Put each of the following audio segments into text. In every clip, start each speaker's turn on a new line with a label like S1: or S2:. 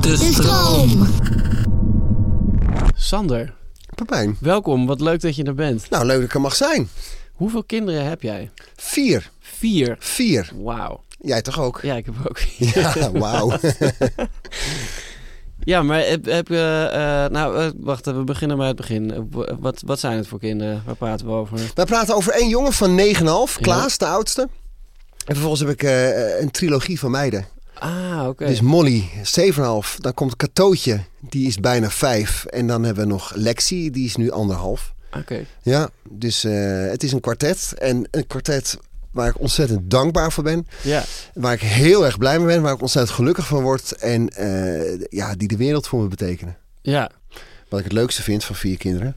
S1: De stroom. Sander,
S2: Pepijn.
S1: welkom. Wat leuk dat je er bent.
S2: Nou, leuk dat ik er mag zijn.
S1: Hoeveel kinderen heb jij?
S2: Vier.
S1: Vier.
S2: Vier.
S1: Wauw.
S2: Jij toch ook?
S1: Ja, ik heb ook.
S2: Ja, wauw.
S1: ja, maar heb, heb je... eh, nou, eh, wacht, we beginnen bij het begin. Eh, wa- Wat, wat zijn het voor kinderen? Waar praten we over?
S2: Wij praten over één jongen van 9,5, Klaas, de oudste. En vervolgens heb ik eh, een trilogie van meiden.
S1: Ah, oké.
S2: Dus Molly, 7,5. Dan komt Katootje, die is bijna 5. En dan hebben we nog Lexi, die is nu anderhalf.
S1: Oké.
S2: Ja, dus eh, het is een kwartet. En een kwartet waar ik ontzettend dankbaar voor ben.
S1: Ja.
S2: Waar ik heel erg blij mee ben. Waar ik ontzettend gelukkig van word. En eh, ja, die de wereld voor me betekenen.
S1: Ja.
S2: Wat ik het leukste vind van vier kinderen.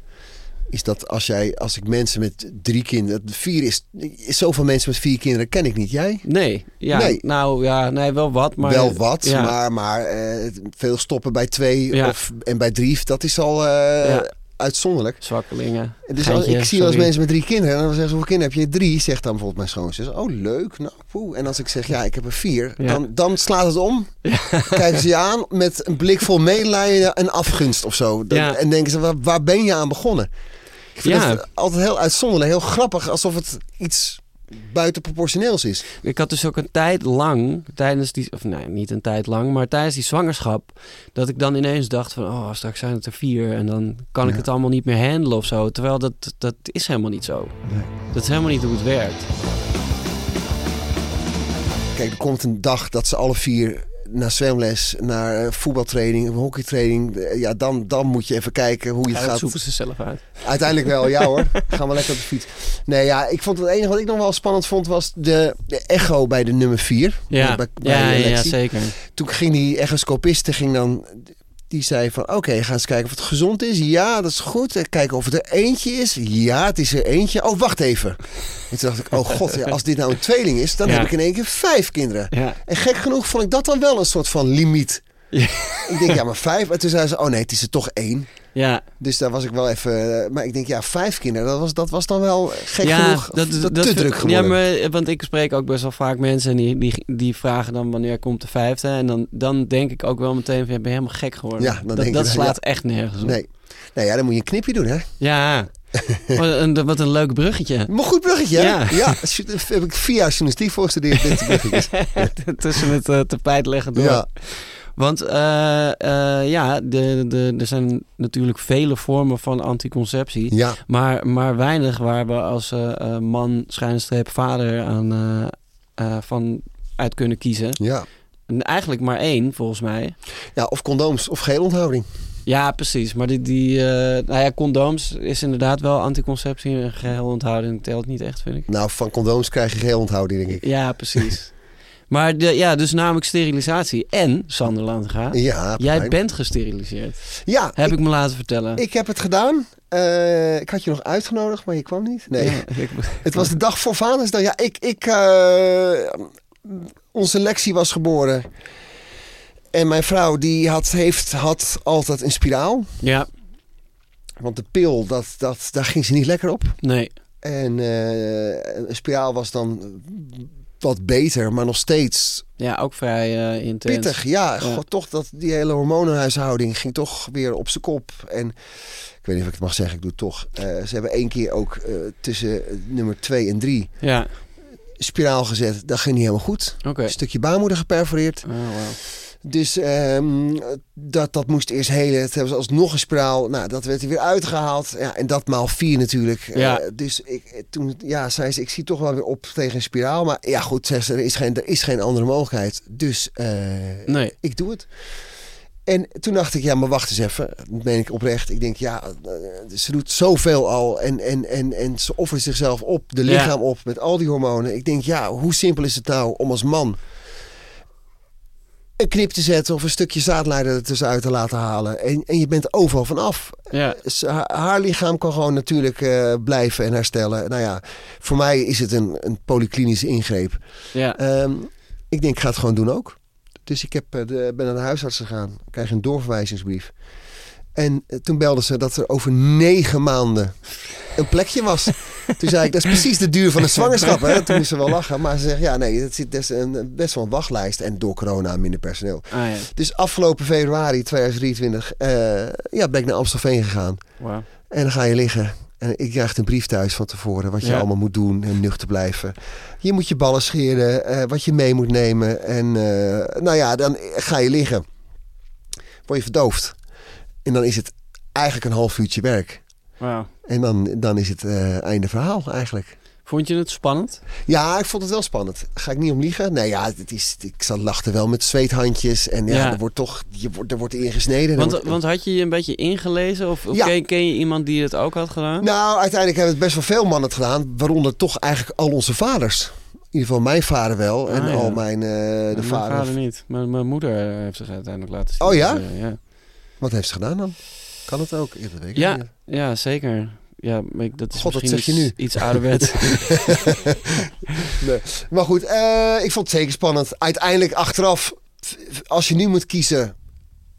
S2: Is dat als jij, als ik mensen met drie kinderen. Vier is, is zoveel mensen met vier kinderen ken ik niet. Jij?
S1: Nee. Ja.
S2: Nee.
S1: Nou, ja. Nee, wel wat, maar... eh,
S2: Wel wat,
S1: ja.
S2: maar, maar eh, veel stoppen bij twee
S1: Ja.
S2: of, en bij drie, dat is al eh,
S1: Ja.
S2: uitzonderlijk.
S1: Zwakkelingen.
S2: En Dus
S1: Geintje,
S2: ik zie wel eens
S1: sorry.
S2: mensen met drie kinderen en dan zeggen ze, hoeveel kinderen heb je? Drie, zegt dan bijvoorbeeld mijn schoonzus. Oh, leuk, nou, poeh. En als ik zeg, ja, ik heb er vier,
S1: Ja.
S2: dan, dan slaat het om. Kijken ze je aan met een blik vol medelijden en afgunst of zo. Dan-
S1: Ja.
S2: En denken ze, waar, waar ben je aan begonnen? Ik vind
S1: Ja.
S2: het altijd heel uitzonderlijk, heel grappig, alsof het iets buitenproportioneels is.
S1: Ik had dus ook een tijd lang, tijdens die, of nee, niet een tijd lang, maar tijdens die zwangerschap, dat ik dan ineens dacht van, oh, straks zijn het er vier en dan kan ik het allemaal niet meer handelen of zo. Terwijl dat, dat is helemaal niet zo. Dat is helemaal niet hoe het werkt.
S2: Kijk, er komt een dag dat ze alle vier naar zwemles, naar eh, voetbaltraining, hockeytraining. Eh, Ja, dan, dan moet je even kijken hoe je
S1: Ja,
S2: het
S1: dat
S2: gaat.
S1: zoeken ze zelf uit.
S2: Uiteindelijk wel, ja hoor. Gaan we lekker op de fiets. Nee, ja, ik vond het enige wat ik nog wel spannend vond was de, de echo bij de nummer 4.
S1: Ja,
S2: bij, bij
S1: ja, ja,
S2: Lexi.
S1: zeker.
S2: Toen ging die echoscopiste ging dan, die zei van oké, ga eens kijken of het gezond is. Ja, dat is goed. En Kijken of het er eentje is. Ja, het is er eentje. Oh, wacht even. En toen dacht ik, oh god, ja, als dit nou een tweeling is, dan
S1: Ja.
S2: heb ik in één keer vijf kinderen.
S1: Ja.
S2: En gek genoeg vond ik dat dan wel een soort van limiet.
S1: Ja.
S2: Ik denk, ja, maar vijf. En toen zei ze, oh nee, het is er toch één.
S1: Ja,
S2: Dus daar was ik wel even. eh, Maar ik denk, ja, vijf kinderen, dat was, dat was dan wel gek
S1: ja,
S2: genoeg dat, te
S1: vind-
S2: druk geworden.
S1: Ja, maar, eh, want ik spreek ook best wel vaak mensen en die, die, die vragen dan wanneer komt de vijfde. En dan, dan denk ik ook wel meteen van, je bent helemaal gek geworden.
S2: Ja, dan
S1: dat
S2: denk ik
S1: dat
S2: dat,
S1: slaat echt nergens op.
S2: Nee. Nou ja, dan moet je een knipje doen, hè?
S1: Ja, wat een, wat een leuk bruggetje.
S2: Maar goed bruggetje, hè?
S1: Ja.
S2: Ja. ju- heb ik vier jaar journalistiek voor gestudeerd. Dit bruggetje.
S1: Tussen het eh, tapijt leggen door.
S2: Ja.
S1: Want eh, eh, ja, de, de, er zijn natuurlijk vele vormen van anticonceptie.
S2: ja.
S1: Maar, maar weinig waar we als eh, eh, man, schuinstreep, vader aan, eh, eh, van uit kunnen kiezen.
S2: Ja.
S1: En eigenlijk maar één, volgens mij.
S2: Ja, of condooms of geel onthouding.
S1: Ja, precies. Maar die, die eh, nou ja, condooms is inderdaad wel anticonceptie. En geheel onthouding telt niet echt, vind ik.
S2: Nou, van condooms krijg je geel onthouding, denk ik.
S1: Ja, precies. maar de, ja, dus namelijk sterilisatie. En, Sander Lantinga,
S2: Ja,
S1: jij
S2: fijn.
S1: bent gesteriliseerd.
S2: ja
S1: Heb
S2: ik,
S1: ik, me laten vertellen.
S2: ik heb het gedaan. Eh, ik had je nog uitgenodigd, maar je kwam niet. Nee.
S1: Ja, ik-
S2: Het was de dag voor Vadersdag. Ja, ik... ik eh, onze Lexi was geboren. En mijn vrouw die had, heeft, had altijd een spiraal.
S1: ja,
S2: Want de pil, dat, dat, daar ging ze niet lekker op.
S1: nee.
S2: En eh, een spiraal was dan wat beter, maar nog steeds
S1: Ja, ook vrij eh, intens.
S2: pittig. Ja,
S1: Ja.
S2: god, toch dat die hele hormonenhuishouding ging toch weer op zijn kop. En ik weet niet of ik het mag zeggen, ik doe het toch. Eh, ze hebben één keer ook eh, tussen nummer 2 en 3
S1: Ja,
S2: spiraal gezet. Dat ging niet helemaal goed.
S1: oké.
S2: Een stukje baarmoeder geperforeerd.
S1: Oh, wauw.
S2: Dus ehm, dat, dat moest eerst helen. Het hebben ze alsnog een spraal. Nou, dat werd er weer uitgehaald. Ja, en dat maal vier natuurlijk.
S1: Ja.
S2: Eh, dus ik, eh, toen ja, zei ze, ik zie toch wel weer op tegen een spiraal. Maar ja, goed, zegt ze, er is geen, er is geen andere mogelijkheid. Dus eh,
S1: Nee.
S2: ik doe het. En toen dacht ik, ja, maar wacht eens even. Dat meen ik oprecht. Ik denk, ja, eh, ze doet zoveel al. En, en, en, en ze offert zichzelf op, de
S1: Ja.
S2: lichaam op, met al die hormonen. Ik denk, ja, hoe simpel is het nou om als man een knip te zetten of een stukje zaadleider er tussenuit te laten halen. En, en je bent overal vanaf.
S1: Ja.
S2: Ze- Haar, haar lichaam kan gewoon natuurlijk eh, blijven en herstellen. Nou ja, voor mij is het een, een polyklinische ingreep.
S1: Ja.
S2: Ehm, ik denk, ik ga het gewoon doen ook. Dus ik heb, eh, de, ben naar de huisarts gegaan. Ik kreeg een doorverwijzingsbrief. En eh, toen belden ze dat er over negen maanden een plekje was. Toen zei ik, dat is precies de duur van een zwangerschap. Hè? Toen moest ze wel lachen. Maar ze zegt, ja nee, dat zit best, een, best wel een wachtlijst. En door corona minder personeel.
S1: Ah ja.
S2: Dus afgelopen februari 2023 eh, ja, ben ik naar Amstelveen gegaan.
S1: Wauw.
S2: En dan ga je liggen. En ik krijg een brief thuis van tevoren. Wat je
S1: Ja.
S2: allemaal moet doen en nuchter blijven. Je moet je ballen scheren. eh, wat je mee moet nemen. En eh, nou ja, dan ga je liggen. Word je verdoofd. En dan is het eigenlijk een half uurtje werk.
S1: Wauw.
S2: En dan, dan is het eh, einde verhaal eigenlijk.
S1: Vond je het spannend?
S2: Ja, ik vond het wel spannend. Ga ik niet om liegen? Nee, ja, het is, ik zat lachte wel met zweethandjes. En ja,
S1: Ja.
S2: er wordt toch je wordt, er wordt ingesneden. Er
S1: Want,
S2: wordt-
S1: want had je je een beetje ingelezen? Of, of
S2: Ja.
S1: ken, ken je iemand die het ook had gedaan?
S2: Nou, uiteindelijk hebben het best wel veel mannen het gedaan. Waaronder toch eigenlijk al onze vaders. In ieder geval mijn vader wel. En
S1: Ah, ja.
S2: al mijn, eh, de
S1: Mijn
S2: vader.
S1: vader niet. Maar mijn moeder eh, heeft zich uiteindelijk laten zien.
S2: Oh ja?
S1: Dus, eh, ja.
S2: Wat heeft ze gedaan dan? Kan het ook? Ja, dat weet ik
S1: Ja,
S2: niet.
S1: ja, zeker. Ja, maar ik- dat is
S2: God, wat
S1: misschien
S2: zeg je
S1: iets, iets ouderwet.
S2: Maar goed, eh, ik vond het zeker spannend. Uiteindelijk achteraf, f- f- als je nu moet kiezen.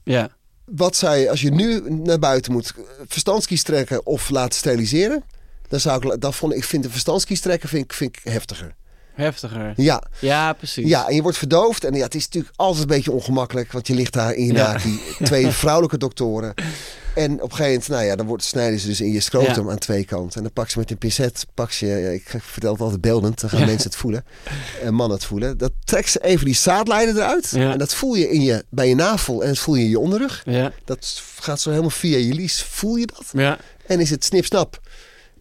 S1: ja,
S2: Wat zou je, als je nu naar buiten moet, eh, verstandskies trekken of laten steriliseren? Dan zou ik, la- dat vond, ik- ik vind de verstandskies trekken vind ik, vind ik heftiger.
S1: heftiger.
S2: Ja,
S1: Ja, precies.
S2: Ja, en je wordt verdoofd. En ja, het is natuurlijk altijd een beetje ongemakkelijk. Want je ligt daar in je
S1: Ja.
S2: naki. Twee vrouwelijke doktoren. En op een gegeven moment, nou ja, dan wordt, snijden ze dus in je scrotum aan twee kanten. En dan pak ze met een pincet, pak ze, ja, ik vertel het altijd beeldend, dan gaan mensen het voelen. En mannen het voelen. Dat trekt ze even die zaadlijnen eruit.
S1: Ja.
S2: En dat voel je, in je bij je navel en dat voel je in je onderrug.
S1: Ja,
S2: Dat gaat zo helemaal via je lies. Voel je dat?
S1: ja.
S2: En is het snip-snap.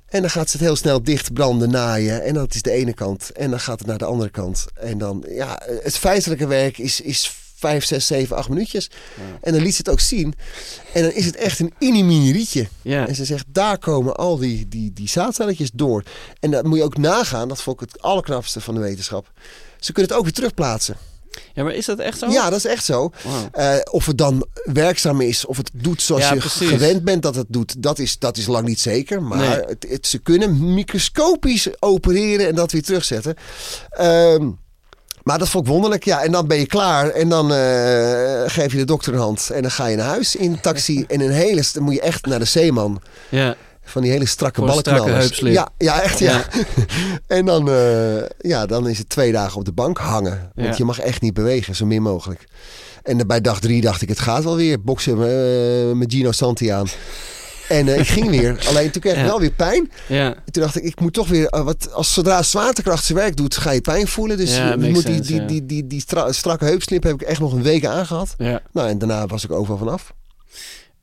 S2: En dan gaat ze het heel snel dicht branden, naaien. En dat is de ene kant. En dan gaat het naar de andere kant. En dan, ja, het feitelijke werk is, is vijf, zes, zeven, acht minuutjes. En dan liet ze het ook zien. En dan is het echt een inimini rietje.
S1: Ja.
S2: En ze zegt, daar komen al die, die, die zaadcelletjes door. En dat moet je ook nagaan. Dat vond ik het allerknapste van de wetenschap. Ze kunnen het ook weer terugplaatsen.
S1: ja, maar is dat echt zo?
S2: Ja, dat is echt zo.
S1: Wauw.
S2: Eh, of het dan werkzaam is, of het doet zoals
S1: Ja,
S2: je
S1: precies.
S2: gewend bent dat het doet, dat is, dat is lang niet zeker. Maar
S1: Nee.
S2: het, het- ze kunnen microscopisch opereren en dat weer terugzetten. Ehm, maar dat vond ik wonderlijk. Ja, en dan ben je klaar. En dan eh, geef je de dokter een hand. En dan ga je naar huis in een taxi. en een hele, st- dan moet je echt naar de zeeman.
S1: Ja.
S2: Van die hele strakke
S1: Voor een strakke
S2: ballenknallers.
S1: heupslip.
S2: Ja, ja, echt ja. en dan, eh, ja, dan is het twee dagen op de bank hangen. Want
S1: Ja.
S2: je mag echt niet bewegen, zo min mogelijk. En bij dag drie dacht ik, het gaat wel weer. Boksen eh, met Gino Santi aan. En eh, ik ging weer. Alleen toen kreeg ik
S1: Ja.
S2: wel weer pijn.
S1: Ja.
S2: En toen dacht ik, ik moet toch weer... eh, wat, als zodra zwaartekracht zijn werk doet, ga je pijn voelen. Dus
S1: Ja,
S2: je
S1: makes
S2: moet die,
S1: sense,
S2: die,
S1: ja.
S2: die, die, die stra- strakke heupslip heb ik echt nog een week aangehad.
S1: ja.
S2: Nou, en daarna was ik overal vanaf.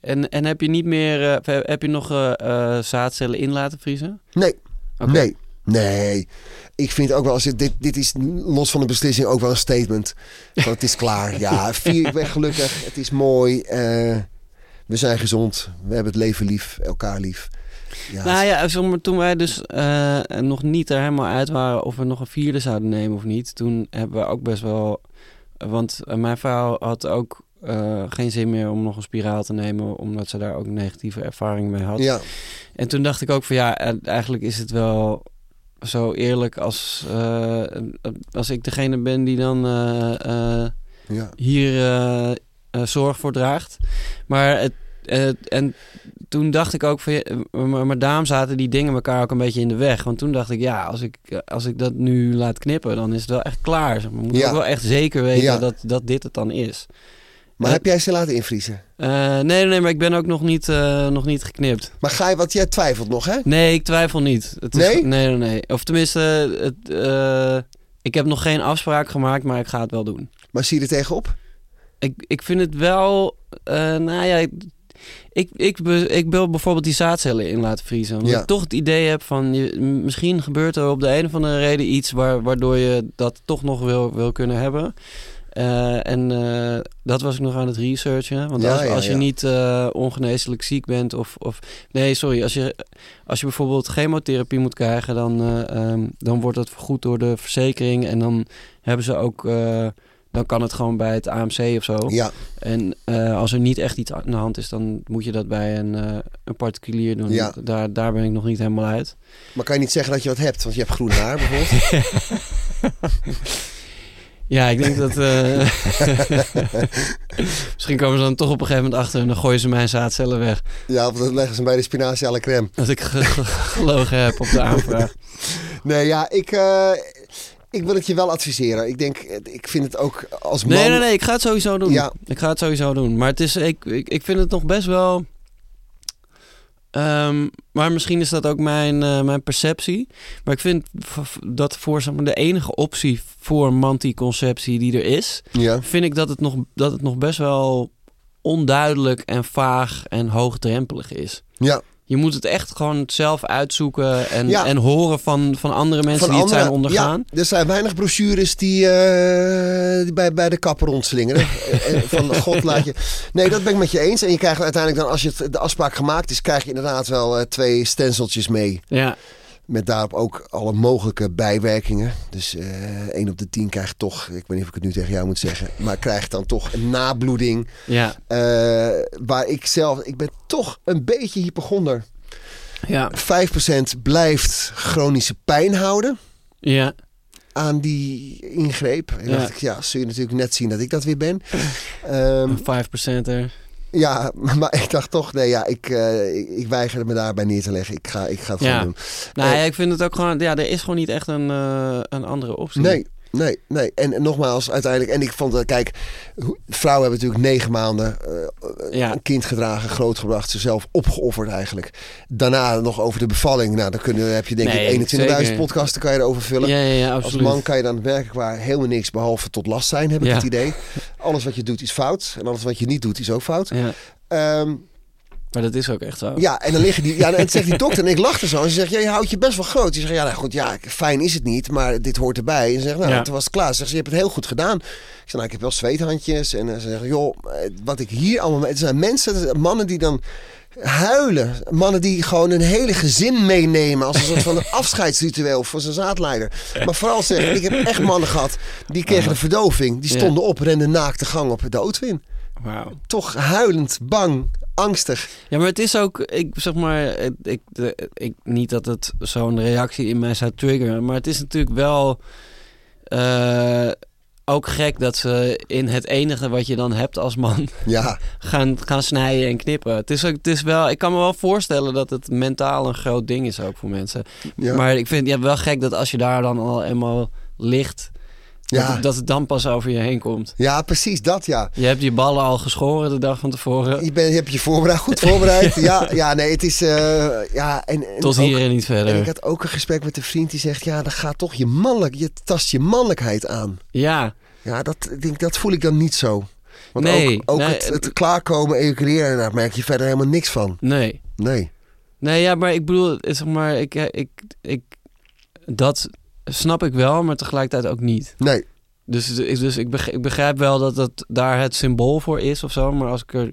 S1: En, en heb je niet meer, eh, of heb je nog eh, eh, zaadcellen in laten vriezen?
S2: Nee,
S1: Oké.
S2: Nee. Nee. Ik vind ook wel, als het- dit, dit is los van de beslissing ook wel een statement. Want het is klaar. Ja, vier, ik ben gelukkig. Het is mooi. eh, we zijn gezond. We hebben het leven lief. Elkaar lief. Ja,
S1: Nou ja, zeg maar, toen wij dus eh, nog niet er helemaal uit waren of we nog een vierde zouden nemen of niet, toen hebben we ook best wel. Want eh, mijn vrouw had ook eh, geen zin meer om nog een spiraal te nemen, omdat ze daar ook negatieve ervaring mee had.
S2: ja.
S1: En toen dacht ik ook van ja, eh, eigenlijk is het wel zo eerlijk als, eh, eh, als ik degene ben die dan eh, eh,
S2: ja.
S1: hier eh, eh, zorg voor draagt. Maar het, het- en toen dacht ik ook van, ja, eh, maar, maar daarom zaten die dingen elkaar ook een beetje in de weg. Want toen dacht ik, ja, als ik, eh, als ik dat nu laat knippen, dan is het wel echt klaar. Zeg maar. We moeten
S2: Ja.
S1: ook wel echt zeker weten
S2: Ja.
S1: dat, dat dit het dan is.
S2: Maar
S1: Eh,
S2: heb jij ze laten invriezen?
S1: Eh, nee, nee, nee, maar ik ben ook nog niet, eh, nog niet geknipt.
S2: Maar ga je, want jij twijfelt nog, hè?
S1: Nee, ik twijfel niet. Het is,
S2: Nee?
S1: nee? Nee, nee. Of tenminste, het, eh, ik heb nog geen afspraak gemaakt, maar ik ga het wel doen.
S2: Maar zie je er tegenop?
S1: Ik ik, ik vind het wel... eh, nou ja, ik, ik, ik, be- ik wil bijvoorbeeld die zaadcellen in laten vriezen. Omdat
S2: Ja.
S1: ik toch het idee heb van... Je, m- misschien gebeurt er op de een of andere reden iets... Waar, waardoor je dat toch nog wil, wil kunnen hebben. Eh, en eh, dat was ik nog aan het researchen. Want
S2: Ja,
S1: als,
S2: ja,
S1: als je
S2: ja.
S1: niet eh, ongeneeslijk ziek bent of, of... Nee, sorry. Als je, als je bijvoorbeeld chemotherapie moet krijgen... Dan, eh, ehm, dan wordt dat vergoed door de verzekering. En dan hebben ze ook... eh, dan kan het gewoon bij het AMC of zo.
S2: Ja,
S1: En eh, als er niet echt iets aan de hand is, dan moet je dat bij een, eh, een particulier doen.
S2: Ja.
S1: Daar, daar ben ik nog niet helemaal uit.
S2: maar kan je niet zeggen dat je wat hebt? Want je hebt groen haar bijvoorbeeld.
S1: Ja, ik denk dat. eh, Misschien komen ze dan toch op een gegeven moment achter en dan gooien ze mijn zaadcellen weg.
S2: ja, of dat leggen ze bij de spinazie à la crème.
S1: Dat ik ge- ge- gelogen heb op de aanvraag.
S2: Nee, ja, ik, eh, ik wil het je wel adviseren. Ik denk, eh, ik vind het ook als man...
S1: Nee, nee, nee, ik ga het sowieso doen.
S2: Ja.
S1: Ik ga het sowieso doen. Maar het is, ik, ik, ik vind het nog best wel. Ehm, maar misschien is dat ook mijn, eh, mijn perceptie. Maar ik vind v- v- dat voor zeg maar, de enige optie voor manticonceptie die er is,
S2: Ja.
S1: vind ik dat het nog, dat het nog best wel onduidelijk en vaag en hoogdrempelig is.
S2: Ja.
S1: Je moet het echt gewoon zelf uitzoeken en,
S2: Ja.
S1: en horen van, van andere mensen die
S2: andere-
S1: het zijn ondergaan.
S2: Ja, er zijn weinig brochures die, eh, die bij, bij de kapper rondslingeren. Eh, eh, Van god laat je... Nee, dat ben ik met je eens. En je krijgt uiteindelijk dan, als je het- de afspraak gemaakt is... krijg je inderdaad wel eh, twee stenceltjes mee.
S1: ja.
S2: Met daarop ook alle mogelijke bijwerkingen. Dus eh 1 op de 10 krijgt toch... Ik weet niet of ik het nu tegen jou moet zeggen. Maar krijgt dan toch een nabloeding.
S1: ja.
S2: Eh, waar ik zelf, ik ben toch een beetje hypochonder.
S1: ja.
S2: 5% blijft chronische pijn houden
S1: ja.
S2: aan die ingreep. En
S1: Ja.
S2: dacht ik, ja, zul je natuurlijk net zien dat ik dat weer ben. Ehm,
S1: Een 5% er.
S2: ja, maar ik dacht toch, nee, ja, ik, eh ik, ik weiger me daarbij neer te leggen. Ik ga, ik ga het
S1: Ja.
S2: gewoon doen.
S1: Nou
S2: Eh,
S1: ja, ik vind het ook gewoon... Ja, er is gewoon niet echt een, eh, een andere optie.
S2: Nee, nee, nee. En, en nogmaals, uiteindelijk, en ik vond dat, kijk, hoe- vrouwen hebben natuurlijk negen maanden eh,
S1: Ja.
S2: een kind gedragen, grootgebracht, zichzelf opgeofferd eigenlijk. Daarna nog over de bevalling. Nou, dan kunnen, heb je denk
S1: Nee,
S2: ik 21.000
S1: zeker.
S2: podcasten kan je erover vullen.
S1: Ja, ja, ja,
S2: Als
S1: absoluut.
S2: man kan je dan werkelijk waar helemaal niks behalve tot last zijn, heb ik
S1: Ja.
S2: het idee. Alles wat je doet is fout en alles wat je niet doet is ook fout.
S1: Ja,
S2: Ehm,
S1: maar dat is ook echt zo.
S2: ja, en dan liggen die. Ja, en het zegt die dokter. En ik lachte zo. En ze zegt: ja, Je houdt je best wel groot. Die zegt: Ja, nou goed, ja, fijn is het niet, maar dit hoort erbij. En ze zegt: Nou,
S1: Ja.
S2: toen was het klaar. Ze zegt: Je hebt het heel goed gedaan. Ik zeg: Nou, ik heb wel zweethandjes. En eh, ze zegt: Joh, eh, wat ik hier allemaal. mee- Het zijn mensen, mannen die dan huilen. Mannen die gewoon een hele gezin meenemen. Als een soort van een afscheidsritueel voor zijn zaadleider. Maar vooral zeg ik: Ik heb echt mannen gehad. Die kregen de verdoving. Die
S1: Ja.
S2: stonden op, renden naakt de gang op de auto in.
S1: Wauw.
S2: Toch huilend, bang, angstig.
S1: Ja, maar het is ook... Ik zeg maar... het- Ik, de- ik, niet dat het zo'n reactie in mij zou triggeren. Maar het is natuurlijk wel... eh, ook gek dat ze in het enige wat je dan hebt als man
S2: Ja,
S1: gaan, gaan snijden en knippen. Het is, ook, het is wel, ik kan me wel voorstellen dat het mentaal een groot ding is ook voor mensen.
S2: Ja.
S1: Maar ik vind het ja, wel gek dat als je daar dan al eenmaal ligt, dat,
S2: ja.
S1: het, dat het dan pas over je heen komt.
S2: Ja, precies dat ja.
S1: Je hebt je ballen al geschoren de dag van tevoren.
S2: Je, bent je hebt je voorbereid, goed voorbereid. ja, ja, nee, het is... eh, ja, en, en
S1: Tot
S2: ook-
S1: hier eh, en niet
S2: En ik
S1: verder.
S2: had ook een gesprek met een vriend die zegt... Ja, dan gaat toch je mannelijk... Je tast je mannelijkheid aan.
S1: Ja,
S2: Ja, dat, ik denk, dat voel ik dan niet zo. Want
S1: Nee,
S2: ook, ook
S1: nee,
S2: het, het
S1: eh,
S2: klaarkomen, evacueren... Daar merk je verder helemaal niks van.
S1: nee.
S2: Nee.
S1: Nee, ja, maar ik bedoel, het is zeg maar, ik, eh, ik, ik, dat snap ik wel, maar tegelijkertijd ook niet.
S2: Nee.
S1: Dus, dus ik, begrijp, ik begrijp wel dat dat daar het symbool voor is of zo. Maar als ik er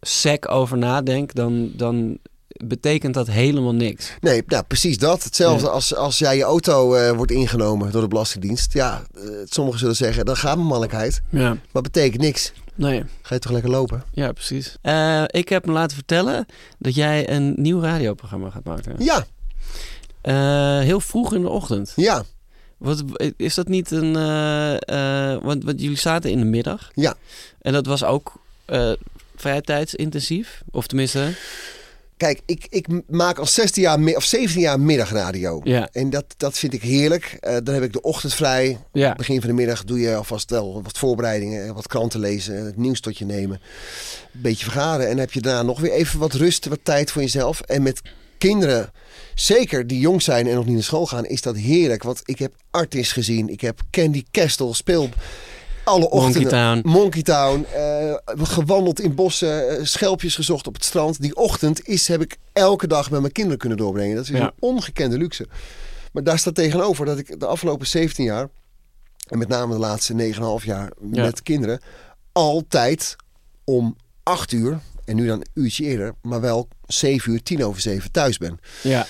S1: sec over nadenk, dan, dan betekent dat helemaal niks.
S2: Nee, nou, precies dat. Hetzelfde
S1: Ja.
S2: als, als jij je auto eh, wordt ingenomen door de Belastingdienst. Ja, eh, sommigen zullen zeggen, dan gaat mijn mannelijkheid.
S1: Ja,
S2: Maar betekent niks.
S1: nee.
S2: Ga je toch lekker lopen?
S1: Ja, precies. Eh, ik heb me laten vertellen dat jij een nieuw radioprogramma gaat maken.
S2: Ja,
S1: Eh, heel vroeg in de ochtend.
S2: ja.
S1: Wat, is dat niet een... eh, eh, want, want jullie zaten in de middag.
S2: Ja.
S1: En dat was ook eh vrij tijdsintensief. Of tenminste...
S2: Kijk, ik, ik maak al 16 jaar mi- of 17 jaar middagradio.
S1: Ja,
S2: En dat, dat vind ik heerlijk. Eh, dan heb ik de ochtend vrij.
S1: ja.
S2: Begin van de middag doe je alvast wel wat voorbereidingen. Wat kranten lezen. Het nieuws tot je nemen. Een beetje vergaren. En dan heb je daarna nog weer even wat rust. Wat tijd voor jezelf. En met kinderen, zeker die jong zijn en nog niet naar school gaan, is dat heerlijk. Want ik heb artists gezien. Ik heb Candy Kestel speel... alle
S1: Monkey
S2: ochtenden.
S1: Town.
S2: Monkey Town. eh, gewandeld in bossen, eh, schelpjes gezocht op het strand. Die ochtend is, heb ik elke dag met mijn kinderen kunnen doorbrengen. Dat is weer
S1: Ja.
S2: een ongekende luxe. Maar daar staat tegenover dat ik de afgelopen 17 jaar, en met name de laatste 9,5 jaar
S1: Ja.
S2: met kinderen, altijd om 8 uur, en nu dan een uurtje eerder, maar wel 7 uur, 10 over 7 thuis ben.
S1: Ja.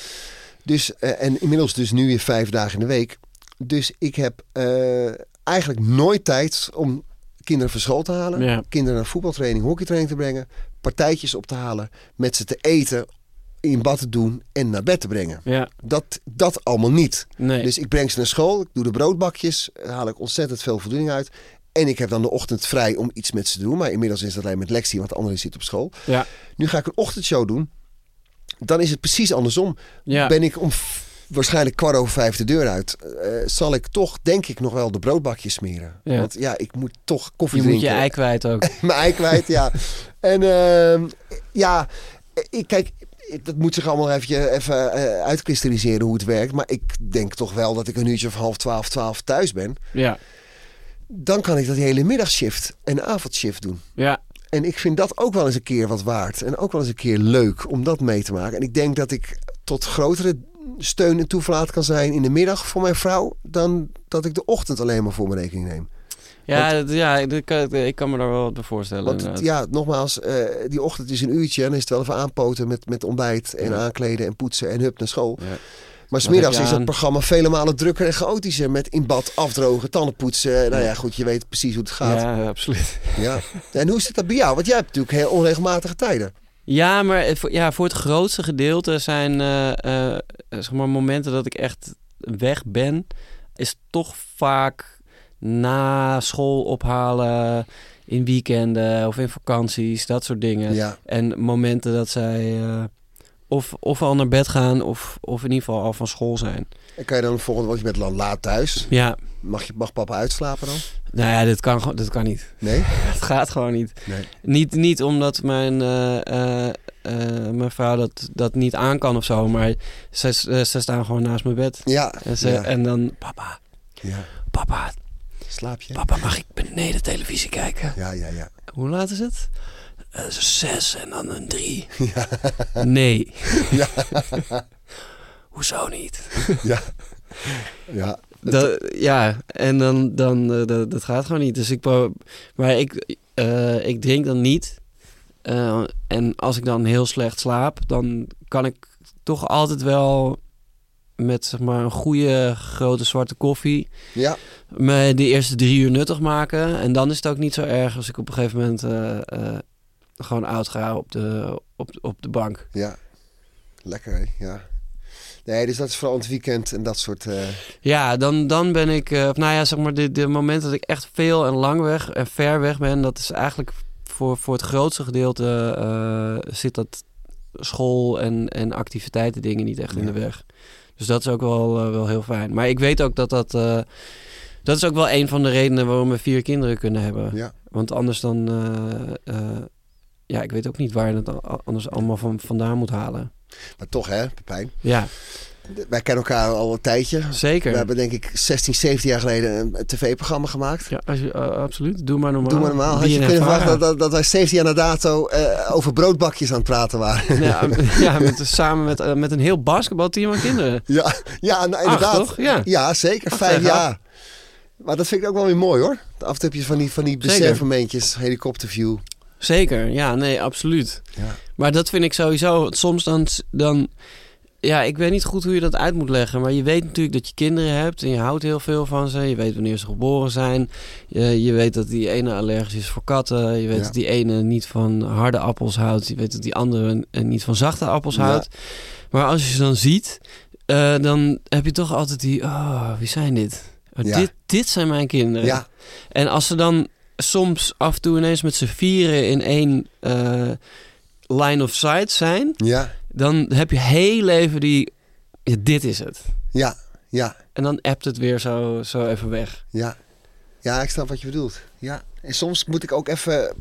S2: Dus, eh, en inmiddels dus nu weer vijf dagen in de week. Dus ik heb eh, eigenlijk nooit tijd om kinderen van school te halen.
S1: Ja.
S2: Kinderen naar voetbaltraining, hockeytraining te brengen. Partijtjes op te halen. Met ze te eten, in bad te doen en naar bed te brengen.
S1: Ja.
S2: Dat, dat allemaal niet.
S1: Nee.
S2: Dus ik breng ze naar school. Ik doe de broodbakjes. Daar haal ik ontzettend veel voldoening uit. En ik heb dan de ochtend vrij om iets met ze te doen. Maar inmiddels is dat alleen met Lexi, want de andere zit op school.
S1: ja.
S2: Nu ga ik een ochtendshow doen. Dan is het precies andersom.
S1: Ja.
S2: Ben ik om f- waarschijnlijk kwart over vijf de deur uit. eh, zal ik toch, denk ik, nog wel de broodbakjes smeren.
S1: Ja.
S2: Want ja, ik moet toch koffie
S1: Je moet
S2: drinken.
S1: je ei kwijt ook.
S2: Mijn ei kwijt, ja. En ehm, ja, ik, kijk, ik- dat moet zich allemaal even, even eh, uitkristalliseren hoe het werkt. Maar ik denk toch wel dat ik een uurtje of half twaalf, twaalf thuis ben.
S1: Ja.
S2: Dan kan ik dat hele middagshift en avondshift doen.
S1: Ja.
S2: En ik vind dat ook wel eens een keer wat waard. En ook wel eens een keer leuk om dat mee te maken. En ik denk dat ik tot grotere steun en toeverlaat kan zijn in de middag voor mijn vrouw. dan dat ik de ochtend alleen maar voor mijn rekening neem.
S1: Ja, dat- ja ik, kan, ik kan me daar wel wat bij voorstellen.
S2: Want het-
S1: inderdaad.
S2: ja, nogmaals, eh, die ochtend is een uurtje. en dan is het wel even aanpoten met, met ontbijt en
S1: Ja.
S2: aankleden en poetsen en hup naar school.
S1: Ja.
S2: Maar smiddags
S1: heb je
S2: is dat
S1: aan?
S2: programma vele malen drukker en chaotischer. Met in bad afdrogen, tanden poetsen. Nou ja, goed, je weet precies hoe het gaat. Ja.
S1: ja, absoluut.
S2: En hoe zit dat bij jou? Want jij hebt natuurlijk heel onregelmatige tijden.
S1: Ja, maar eh, voor, ja, voor het grootste gedeelte zijn eh, eh, zeg maar momenten dat ik echt weg ben, is toch vaak na school ophalen, in weekenden of in vakanties, dat soort dingen.
S2: ja.
S1: En momenten dat zij eh, of, of al naar bed gaan of, of in ieder geval al van school zijn.
S2: En kan je dan de volgende, want je bent dan laat thuis.
S1: Ja,
S2: Mag, je, mag papa uitslapen dan?
S1: nou ja, dit kan, gewoon- dit kan niet.
S2: Nee?
S1: Het gaat gewoon niet.
S2: Nee.
S1: Niet, niet omdat mijn, eh, eh, eh, mijn vrouw dat, dat niet aan kan of zo, maar ze, ze, ze staan gewoon naast mijn bed.
S2: Ja.
S1: En, ze,
S2: ja.
S1: en dan, papa,
S2: ja.
S1: papa,
S2: Slaap je?
S1: papa, mag ik beneden televisie kijken?
S2: Ja, ja, ja.
S1: Hoe laat is het? Eh, zes en dan een drie. Nee.
S2: Ja.
S1: Hoezo niet?
S2: Ja. Ja.
S1: Dat, ja, en dan, dan eh, dat, dat gaat gewoon niet. Dus ik, pro- maar ik, eh, ik drink dan niet. Eh, en als ik dan heel slecht slaap, dan kan ik toch altijd wel met zeg maar, een goede grote zwarte koffie
S2: Ja.
S1: me de eerste drie uur nuttig maken. En dan is het ook niet zo erg als ik op een gegeven moment eh, eh, gewoon oud ga op de, op, op de bank.
S2: Ja. Lekker, hè? Ja. Nee, dus dat is vooral het weekend en dat soort... eh,
S1: Ja, dan, dan ben ik, eh, of nou ja, zeg maar, de, de moment dat ik echt veel en lang weg en ver weg ben, dat is eigenlijk voor, voor het grootste gedeelte eh, zit dat school en, en activiteiten dingen niet echt in
S2: Ja.
S1: de weg. Dus dat is ook wel, eh, wel heel fijn. Maar ik weet ook dat dat, eh, dat is ook wel een van de redenen waarom we vier kinderen kunnen hebben.
S2: ja.
S1: Want anders dan, eh, eh, ja, ik weet ook niet waar je dat a- anders allemaal van, vandaan moet halen.
S2: Maar toch, hè, Pepijn.
S1: Ja,
S2: Wij kennen elkaar al een tijdje.
S1: zeker.
S2: We hebben denk ik 16, 17 jaar geleden een tv-programma gemaakt.
S1: Ja, als je, eh, absoluut. Doe maar normaal.
S2: Doe maar normaal. Had je
S1: BNNVARA.
S2: kunnen verwachten dat, dat, dat wij 17 jaar na dato eh, over broodbakjes aan het praten waren.
S1: Ja, m- ja met, samen met, eh, met een heel basketbalteam aan kinderen.
S2: Ja, ja nou,
S1: Acht,
S2: inderdaad.
S1: toch? Ja.
S2: Ja, zeker. Vijf
S1: tegen
S2: jaar. Maar dat vind ik ook wel weer mooi hoor. Af en toe heb je van die, van die
S1: Zeker.
S2: besefmomentjes, helikopterview.
S1: Zeker, ja, nee, absoluut.
S2: Ja.
S1: Maar dat vind ik sowieso. Soms dan, dan. Ja, ik weet niet goed hoe je dat uit moet leggen. Maar je weet natuurlijk dat je kinderen hebt. En je houdt heel veel van ze. Je weet wanneer ze geboren zijn. Je, je weet dat die ene allergisch is voor katten. Je weet
S2: Ja.
S1: dat die ene niet van harde appels houdt. Je weet dat die andere n- eh, niet van zachte appels
S2: Ja.
S1: houdt. Maar als je ze dan ziet. eh, dan heb je toch altijd die. Oh, wie zijn dit? Oh,
S2: Ja.
S1: dit, dit zijn mijn kinderen.
S2: Ja,
S1: En als ze dan soms af en toe ineens met z'n vieren in één eh, line of sight zijn,
S2: ja,
S1: dan heb je heel even die, ja, dit is het.
S2: ja, ja,
S1: En dan appt het weer zo, zo even weg.
S2: ja. Ja, ik snap wat je bedoelt. Ja. En soms moet ik ook even een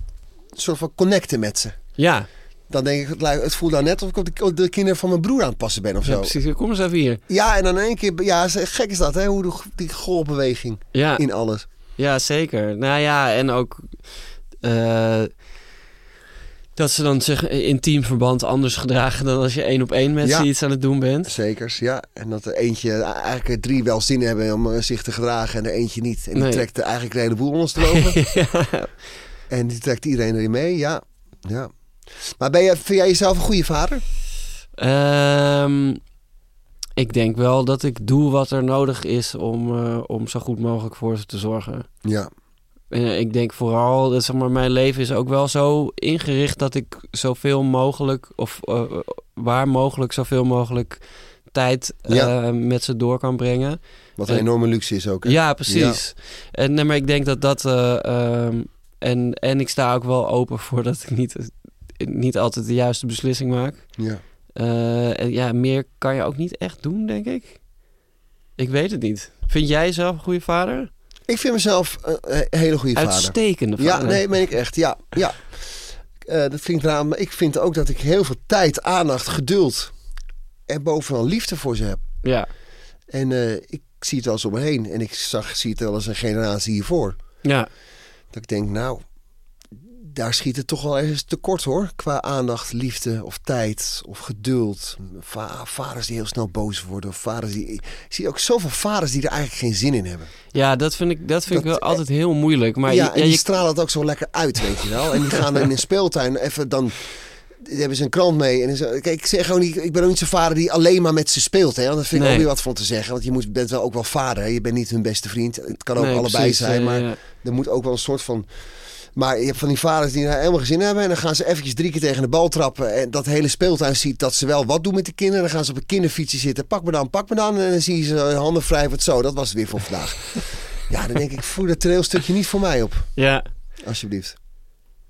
S2: soort van connecten met ze.
S1: Ja,
S2: Dan denk ik, het lijkt- het voelt nou net of ik op de, op de kinderen van mijn broer aan het passen ben of
S1: ja
S2: zo.
S1: precies. Kom eens even hier.
S2: Ja, en dan in één keer, ja, ze- gek is dat hè, hoe de- die golfbeweging
S1: Ja,
S2: in alles.
S1: Ja, zeker. Nou ja, en ook eh, dat ze dan zich in teamverband anders gedragen dan als je één op één met
S2: Ja.
S1: ze iets aan het doen bent.
S2: Zekers, ja. En dat er eentje eh, eigenlijk drie wel zin hebben om eh, zich te gedragen en er eentje niet. En die
S1: Nee.
S2: trekt eigenlijk de hele boel ondersteboven.
S1: ja.
S2: en die trekt iedereen erin mee, ja. ja. Maar ben jij, vind jij jezelf een goede vader?
S1: Ehm, ik denk wel dat ik doe wat er nodig is om, eh, om zo goed mogelijk voor ze te zorgen.
S2: Ja.
S1: Eh, ik denk vooral, dat, zeg maar, mijn leven is ook wel zo ingericht dat ik zoveel mogelijk, of eh, waar mogelijk, zoveel mogelijk tijd eh,
S2: Ja.
S1: met ze door kan brengen.
S2: Wat een
S1: Eh,
S2: enorme luxe is ook. hè?
S1: Ja, precies. En nee, maar ik denk dat dat. eh, ehm, en, en ik sta ook wel open voor dat ik niet, niet altijd de juiste beslissing maak.
S2: ja.
S1: Eh, en ja, meer kan je ook niet echt doen, denk ik. Ik weet het niet. Vind jij zelf een goede vader?
S2: Ik vind mezelf een, eh, een hele goede vader.
S1: Uitstekende vader.
S2: Ja, nee, meen ik echt. Ja, ja. Eh, dat klinkt raar, maar ik vind ook dat ik heel veel tijd, aandacht, geduld en bovenal liefde voor ze heb.
S1: Ja,
S2: En eh, ik zie het wel eens om me heen en ik zag, zie het wel eens een generatie hiervoor.
S1: ja.
S2: Dat ik denk, nou, daar schiet het toch wel eens tekort hoor. Qua aandacht, liefde of tijd of geduld. Va- vaders die heel snel boos worden. Of vaders die... Ik zie ook zoveel vaders die er eigenlijk geen zin in hebben.
S1: Ja, dat vind ik, dat vind ik
S2: Dat-
S1: wel altijd heel moeilijk. Maar
S2: ja,
S1: je-
S2: en
S1: ja,
S2: die
S1: je-
S2: stralen het ook zo lekker uit, weet je wel. En die gaan dan in een speeltuin even dan... die hebben ze een krant mee. En dan zo- kijk, ik, zeg gewoon niet, ik ben ook niet zo'n vader die alleen maar met ze speelt. Hè? Want dat vind ik
S1: Nee.
S2: ook weer wat van te zeggen. Want je moet, bent wel ook wel vader. Hè? Je bent niet hun beste vriend. Het kan ook
S1: nee,
S2: allebei
S1: precies,
S2: zijn.
S1: eh,
S2: Maar
S1: ja.
S2: er moet ook wel een soort van... Maar je hebt van die vaders die daar helemaal geen zin in hebben. En dan gaan ze eventjes drie keer tegen de bal trappen. En dat hele speeltuin ziet dat ze wel wat doen met de kinderen. Dan gaan ze op een kinderfietsje zitten. Pak me dan, pak me dan. En dan zie je ze handen vrij. Wat zo, dat was het weer voor vandaag. ja, dan denk ik, voer dat trailstukje niet voor mij op.
S1: ja.
S2: Alsjeblieft.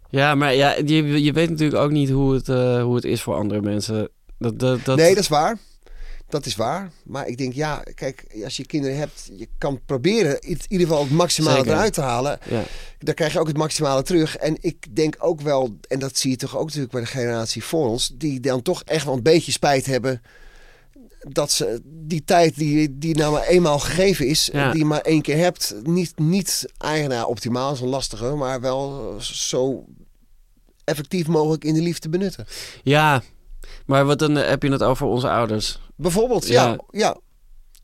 S1: Ja, maar ja, je, je weet natuurlijk ook niet hoe het, eh, hoe het is voor andere mensen. Dat, dat, dat,
S2: Nee, dat is waar. Dat is waar. Maar ik denk, ja, kijk, als je kinderen hebt, je kan proberen in ieder geval het maximale
S1: Zeker.
S2: eruit te halen.
S1: Ja.
S2: Dan krijg je ook het maximale terug. En ik denk ook wel, en dat zie je toch ook natuurlijk bij de generatie voor ons, die dan toch echt wel een beetje spijt hebben dat ze die tijd die, die nou maar eenmaal gegeven is,
S1: Ja.
S2: die je maar één keer hebt, niet, niet eigenaar optimaal, dat is een lastige, maar wel zo effectief mogelijk in de liefde benutten.
S1: ja, maar wat dan eh, heb je het over onze ouders?
S2: Bijvoorbeeld, ja. ja.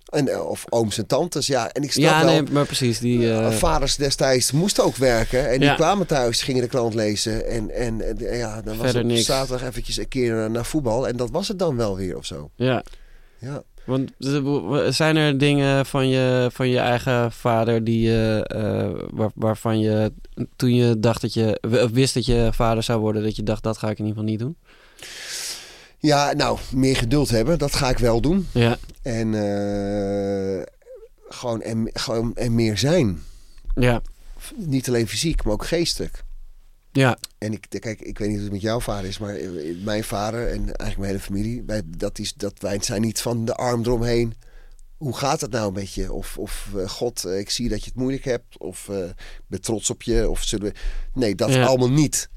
S2: En, eh, of ooms en tantes, ja. En ik snap
S1: ja,
S2: wel,
S1: nee, maar precies. Die, eh,
S2: eh, vaders destijds moesten ook werken. En
S1: Ja.
S2: die kwamen thuis, gingen de krant lezen. En, en, en, eh, ja, dan was
S1: Verder
S2: het op
S1: niks.
S2: zaterdag eventjes een keer eh, naar, naar voetbal. En dat was het dan wel weer of zo.
S1: ja,
S2: Ja.
S1: want eh, zijn er dingen van je, van je eigen vader die, je, eh, waar- waarvan je toen je dacht dat je w- wist dat je vader zou worden, dat je dacht dat ga ik in ieder geval niet doen?
S2: ja, nou, meer geduld hebben. Dat ga ik wel doen.
S1: Ja,
S2: En, eh, gewoon, en gewoon en meer zijn.
S1: ja,
S2: Niet alleen fysiek, maar ook geestelijk.
S1: ja,
S2: En ik, kijk, ik weet niet hoe het met jouw vader is, maar eh, mijn vader en eigenlijk mijn hele familie, wij, dat, is, dat wij zijn niet van de arm eromheen. Hoe gaat het nou met je? Of, of eh, God, eh, ik zie dat je het moeilijk hebt. Of eh, ik ben trots op je. Of zullen we... Nee, dat
S1: Ja.
S2: allemaal niet.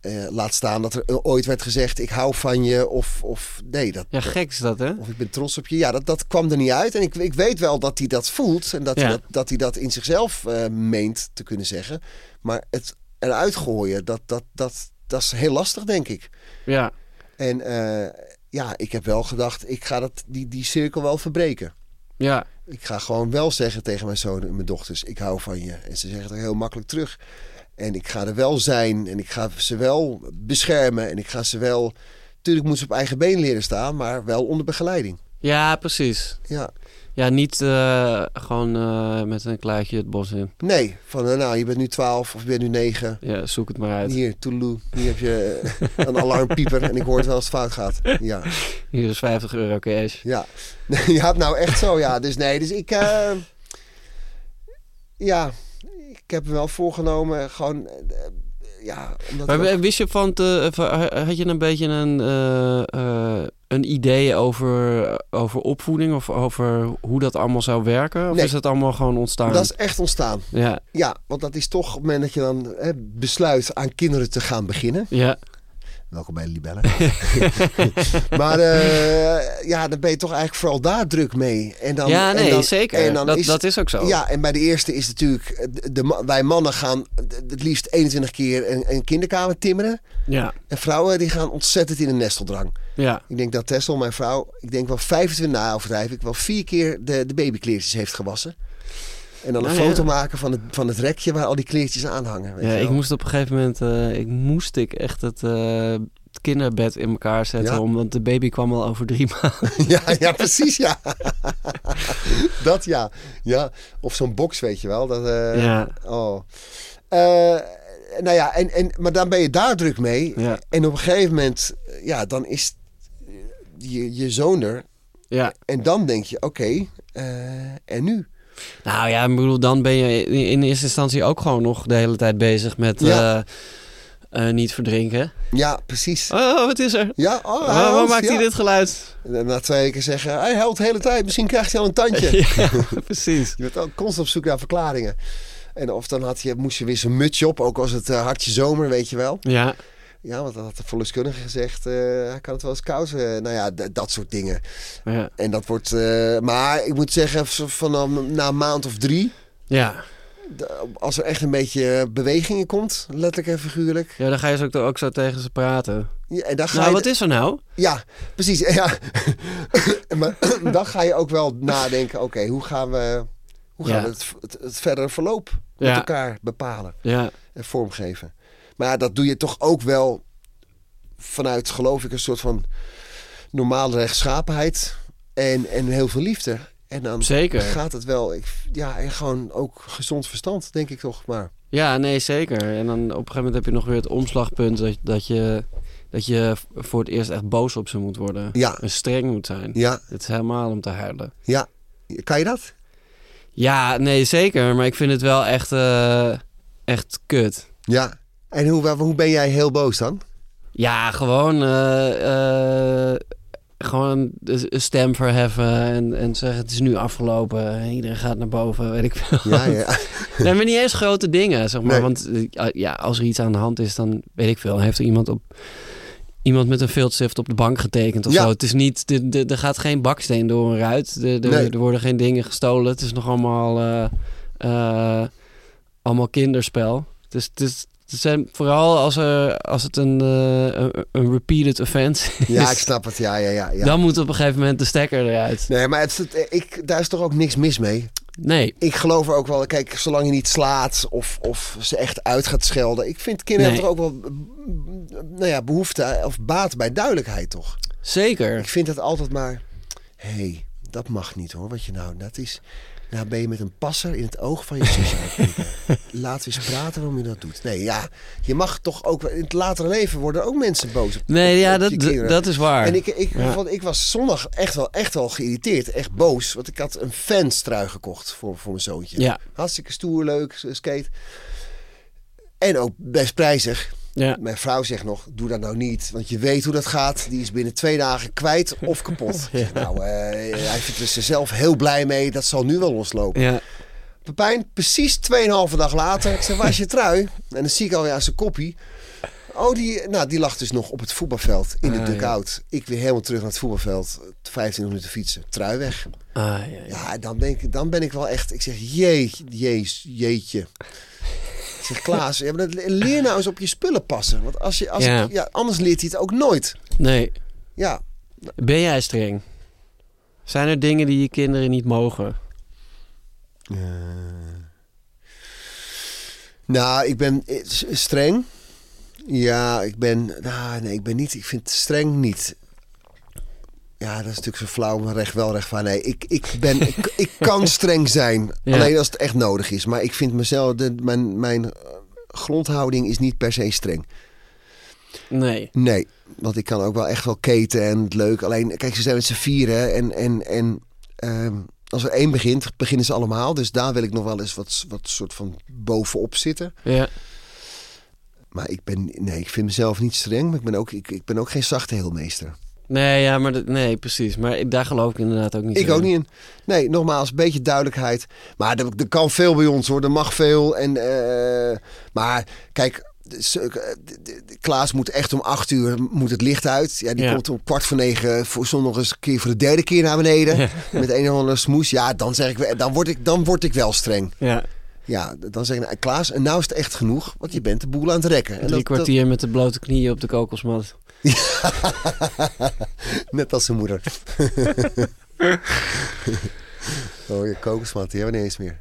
S2: Eh, laat staan dat er eh, ooit werd gezegd, ik hou van je. Of, of nee, dat,
S1: ja, gek is dat, hè?
S2: of ik ben trots op je. Ja, dat, dat kwam er niet uit. En ik, ik weet wel dat hij dat voelt. En dat,
S1: Ja.
S2: hij, dat, dat hij dat in zichzelf eh, meent te kunnen zeggen. Maar het eruit gooien, dat, dat, dat, dat is heel lastig, denk ik.
S1: Ja.
S2: En eh, ja, ik heb wel gedacht, ik ga dat, die, die cirkel wel verbreken.
S1: Ja,
S2: Ik ga gewoon wel zeggen tegen mijn zoon en mijn dochters, ik hou van je. En ze zeggen het ook heel makkelijk terug. En ik ga er wel zijn en ik ga ze wel beschermen. En ik ga ze wel... Tuurlijk moeten ze op eigen been leren staan, maar wel onder begeleiding.
S1: ja precies.
S2: Ja.
S1: Ja, niet eh, gewoon eh, met een kluitje het bos in.
S2: Nee, van eh, nou, je bent nu 12 of je bent nu 9.
S1: Ja, zoek het maar uit.
S2: Hier, toeloe. Hier heb je eh, een alarmpieper en ik hoor het wel als het fout gaat. Ja,
S1: Hier is 50 euro cash.
S2: ja. Nee, je had nou echt zo, ja. Dus nee, dus ik... eh, ja, ik heb me wel voorgenomen, gewoon... eh, ja, omdat...
S1: Maar
S2: ik ook-
S1: wist je van, te, eh, van- had je een beetje een, eh, eh, een idee over, over opvoeding of over hoe dat allemaal zou werken? Of
S2: Nee.
S1: is dat allemaal gewoon ontstaan?
S2: Dat is echt ontstaan.
S1: Ja,
S2: Ja, want dat is toch op het moment dat je dan eh, besluit aan kinderen te gaan beginnen.
S1: ja,
S2: Welkom bij de Libellen. maar eh, ja, dan ben je toch eigenlijk vooral daar druk mee. En dan,
S1: ja, nee,
S2: en dan,
S1: zeker.
S2: En dan
S1: dat,
S2: is,
S1: dat is ook zo.
S2: Ja, en bij de eerste is natuurlijk... eh, De, de ma- wij mannen gaan het liefst 21 keer een, een kinderkamer timmeren.
S1: ja.
S2: En vrouwen die gaan ontzettend in een nesteldrang.
S1: ja.
S2: Ik denk dat Tessel, mijn vrouw, ik denk wel 25, na overdrijf ik, wel vier keer de, de babykleertjes heeft gewassen. En dan een
S1: Ah, ja.
S2: foto maken van het, van het rekje waar al die kleertjes aan hangen. weet
S1: Ja,
S2: je wel.
S1: ik moest op een gegeven moment, eh, ik moest ik echt het, eh, het kinderbed in elkaar zetten,
S2: Ja.
S1: omdat de baby kwam al over drie maanden.
S2: ja, ja, precies, ja. dat ja. ja. Of zo'n box, weet je wel. Dat, eh,
S1: Ja.
S2: oh. Eh, nou ja, en, en, maar dan ben je daar druk mee.
S1: Ja.
S2: En op een gegeven moment, ja, dan is eh, je, je zoon er.
S1: ja.
S2: En dan denk je, oké, eh, en nu?
S1: Nou ja, ik bedoel, dan ben je in- in eerste instantie ook gewoon nog de hele tijd bezig met
S2: Ja.
S1: eh, eh, niet verdrinken.
S2: Ja, precies.
S1: Oh, wat is er?
S2: Ja, oh, hij
S1: Waarom
S2: houdt,
S1: maakt hij
S2: ja.
S1: dit geluid?
S2: En na twee weken zeggen, hij huilt de hele tijd, misschien krijgt hij al een tandje.
S1: Ja, precies.
S2: Je bent ook constant op zoek naar verklaringen. En of dan had je, moest je weer zijn mutsje op, ook als het eh, hartje zomer, weet je wel.
S1: Ja,
S2: Ja, want dan had de verloskundige gezegd, eh, hij kan het wel eens kousen. Nou ja, d- dat soort dingen.
S1: ja.
S2: En dat wordt, eh, maar ik moet zeggen, v- van dan na een maand of drie,
S1: ja.
S2: d- als er echt een beetje bewegingen komt, letterlijk en figuurlijk.
S1: ja dan ga je ze ook, ook zo tegen ze praten.
S2: Ja, en dan ga
S1: Nou,
S2: je,
S1: wat is er nou?
S2: Ja, precies. Ja. maar dan ga je ook wel nadenken, oké, hoe gaan we, hoe gaan
S1: Ja.
S2: we het, het, het verdere verloop met
S1: Ja.
S2: elkaar bepalen
S1: Ja,
S2: en vormgeven. Maar dat doe je toch ook wel vanuit, geloof ik, een soort van normale rechtschapenheid en, en heel veel liefde. En dan
S1: Zeker.
S2: gaat het wel, ik, ja, en gewoon ook gezond verstand, denk ik toch maar.
S1: ja nee, zeker. En dan op een gegeven moment heb je nog weer het omslagpunt dat, dat, je, dat je voor het eerst echt boos op ze moet worden.
S2: Ja.
S1: En streng moet zijn.
S2: Ja,
S1: Het is helemaal om te huilen.
S2: ja. Kan je dat?
S1: Ja, nee, zeker. Maar ik vind het wel echt, eh, echt kut.
S2: Ja. En hoe, hoe ben jij heel boos dan?
S1: Ja, gewoon, eh, eh, gewoon de- een stem verheffen en, en zeggen het is nu afgelopen. En iedereen gaat naar boven, weet ik veel.
S2: Ja, ja.
S1: Nee, maar niet eens grote dingen, zeg maar.
S2: Nee.
S1: Want eh, ja, als er iets aan de hand is, dan weet ik veel. Dan heeft er iemand op... Iemand met een filtstift op de bank getekend of
S2: Ja.
S1: zo. Het is niet... de- de- Er gaat geen baksteen door een ruit. De- de-
S2: Nee.
S1: Er worden geen dingen gestolen. Het is nog allemaal... eh, eh, allemaal kinderspel. Het is... Het is het zijn vooral als, er, als het een, eh, een, een repeated offense is,
S2: Ja, ik snap het. Ja, ja, ja. ja.
S1: dan moet op een gegeven moment de stekker eruit.
S2: Nee, maar het, het- ik, daar is toch ook niks mis mee?
S1: Nee,
S2: Ik geloof er ook wel, kijk, zolang je niet slaat of, of ze echt uit gaat schelden. Ik vind kinderen
S1: Nee.
S2: hebben toch ook wel mm, nou ja, behoefte of baat bij duidelijkheid, toch?
S1: zeker.
S2: Ik vind dat altijd maar, hé, hey, dat mag niet hoor, wat je nou, dat is... Nou ben je met een passer in het oog van je zusje aan het kijken. Laten we eens praten waarom je dat doet. Nee, ja, je mag toch ook... wel- In het latere leven worden ook mensen boos op
S1: Nee, ja,
S2: op je
S1: dat,
S2: kinderen.
S1: dat is waar.
S2: En ik, ik,
S1: Ja.
S2: want ik was zondag echt wel, echt wel geïrriteerd, echt boos. Want ik had een fanstrui gekocht voor, voor mijn zoontje.
S1: Ja.
S2: Hartstikke stoer, leuk, s- skate. En ook best prijzig.
S1: ja.
S2: Mijn vrouw zegt nog, doe dat nou niet. Want je weet hoe dat gaat. Die is binnen twee dagen kwijt of kapot. Ik zeg, Nou, eh, hij vindt er zelf heel blij mee. Dat zal nu wel loslopen.
S1: Ja.
S2: Pepijn, precies 2,5 dag later. Ik zeg, waar is je trui? En dan zie ik alweer aan zijn koppie. Oh, die, nou, die lag dus nog op het voetbalveld in de
S1: Ah, ja.
S2: dugout. Ik weer helemaal terug naar het voetbalveld. 25 minuten fietsen, trui weg.
S1: Ah, ja, ja.
S2: Ja, dan ben ik, dan ben ik wel echt... Ik zeg, jee, jees, jeetje. Ik zeg, Klaas, ja, maar dat- leer nou eens op je spullen passen. Want als je, als
S1: Ja.
S2: ik- ja, anders leert hij het ook nooit.
S1: Nee.
S2: Ja,
S1: Ben jij streng? Zijn er dingen die je kinderen niet mogen?
S2: Eh. Nou, ik ben eh, s- streng. Ja, ik ben. Nou, nee, ik ben niet. Ik vind streng niet. Ja, dat is natuurlijk zo flauw, maar recht wel recht waar. Nee, ik, ik ben. ik, ik kan streng zijn.
S1: Ja.
S2: Alleen als het echt nodig is. Maar ik vind mezelf. De, mijn, mijn eh, grondhouding is niet per se streng.
S1: Nee.
S2: Nee, want ik kan ook wel echt wel keten en het leuk. Alleen, kijk, ze zijn met z'n vieren en, en, en ehm, als er één begint, beginnen ze allemaal. Dus daar wil ik nog wel eens wat, wat soort van bovenop zitten.
S1: Ja.
S2: Maar ik ben, nee, ik vind mezelf niet streng, maar ik ben ook, ik, ik ben ook geen zachte heelmeester.
S1: Nee, ja, maar dat, nee, precies. Maar ik- daar geloof ik inderdaad ook niet
S2: Ik
S1: zo
S2: ook niet in. Nee, nogmaals, een beetje duidelijkheid. Maar er, er kan veel bij ons hoor, er mag veel. En, eh, maar kijk, Dus, eh, de- de- de- Klaas moet echt om acht uur moet het licht uit. Ja, die
S1: Ja.
S2: komt om kwart voor negen voor soms nog eens een keer voor de derde keer naar beneden.
S1: Ja.
S2: Met een of andere smoes. Ja, dan zeg ik, we- dan word ik, dan word ik wel streng.
S1: Ja,
S2: Ja, d- dan zeg ik, nou, Klaas, en nou is het echt genoeg, want je bent de boel aan het rekken. En
S1: drie
S2: dat- dat-
S1: kwartier met de blote knieën op de kokosmat.
S2: Net als zijn moeder. oh, je kokosmat, die hebben we niet eens meer.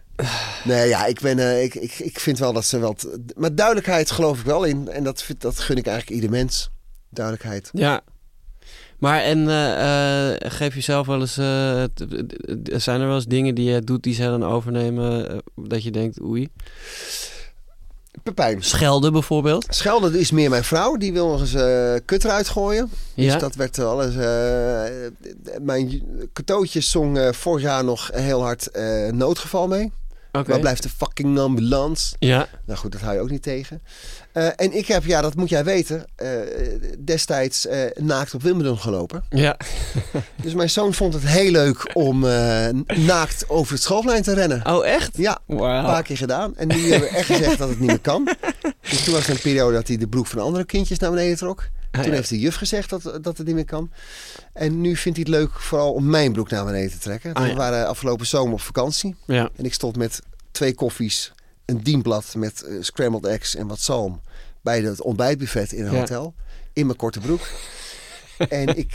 S2: Nee, ja, ik, ben, eh, ik, ik, ik vind wel dat ze wel... t- Maar duidelijkheid geloof ik wel in. En dat, vind- dat gun ik eigenlijk ieder mens. Duidelijkheid.
S1: Ja. Maar en eh, eh, geef jezelf wel eens... eh, t- t- t- zijn er wel eens dingen die je doet die zij dan overnemen... eh, dat je denkt, oei.
S2: Pepijn.
S1: Schelden bijvoorbeeld.
S2: Schelden is meer mijn vrouw. Die wil nog eens eh, kut eruit gooien.
S1: Ja.
S2: Dus dat werd wel eens... eh, mijn cadeautje zong eh, vorig jaar nog heel hard eh, noodgeval mee.
S1: Oké.
S2: Waar blijft de fucking ambulance?
S1: Ja,
S2: Nou goed, dat hou je ook niet tegen. Eh, en ik heb, ja, dat moet jij weten, eh, destijds eh, naakt op Wimbledon gelopen.
S1: ja.
S2: Dus mijn zoon vond het heel leuk om eh, naakt over het schoolplein te rennen.
S1: Oh, echt?
S2: Ja, een
S1: Wauw.
S2: paar keer gedaan. En nu hebben we echt gezegd dat het niet meer kan. Dus toen was er een periode dat hij de broek van andere kindjes naar beneden trok.
S1: Ah,
S2: Toen
S1: ja.
S2: heeft de juf gezegd dat, dat het niet meer kan. En nu vindt hij het leuk vooral om mijn broek naar beneden te trekken.
S1: Ah, ja.
S2: We waren afgelopen zomer op vakantie.
S1: Ja.
S2: En ik stond met twee koffies, een dienblad met eh, scrambled eggs en wat zalm bij het ontbijtbuffet in een
S1: Ja.
S2: hotel. In mijn korte broek. en ik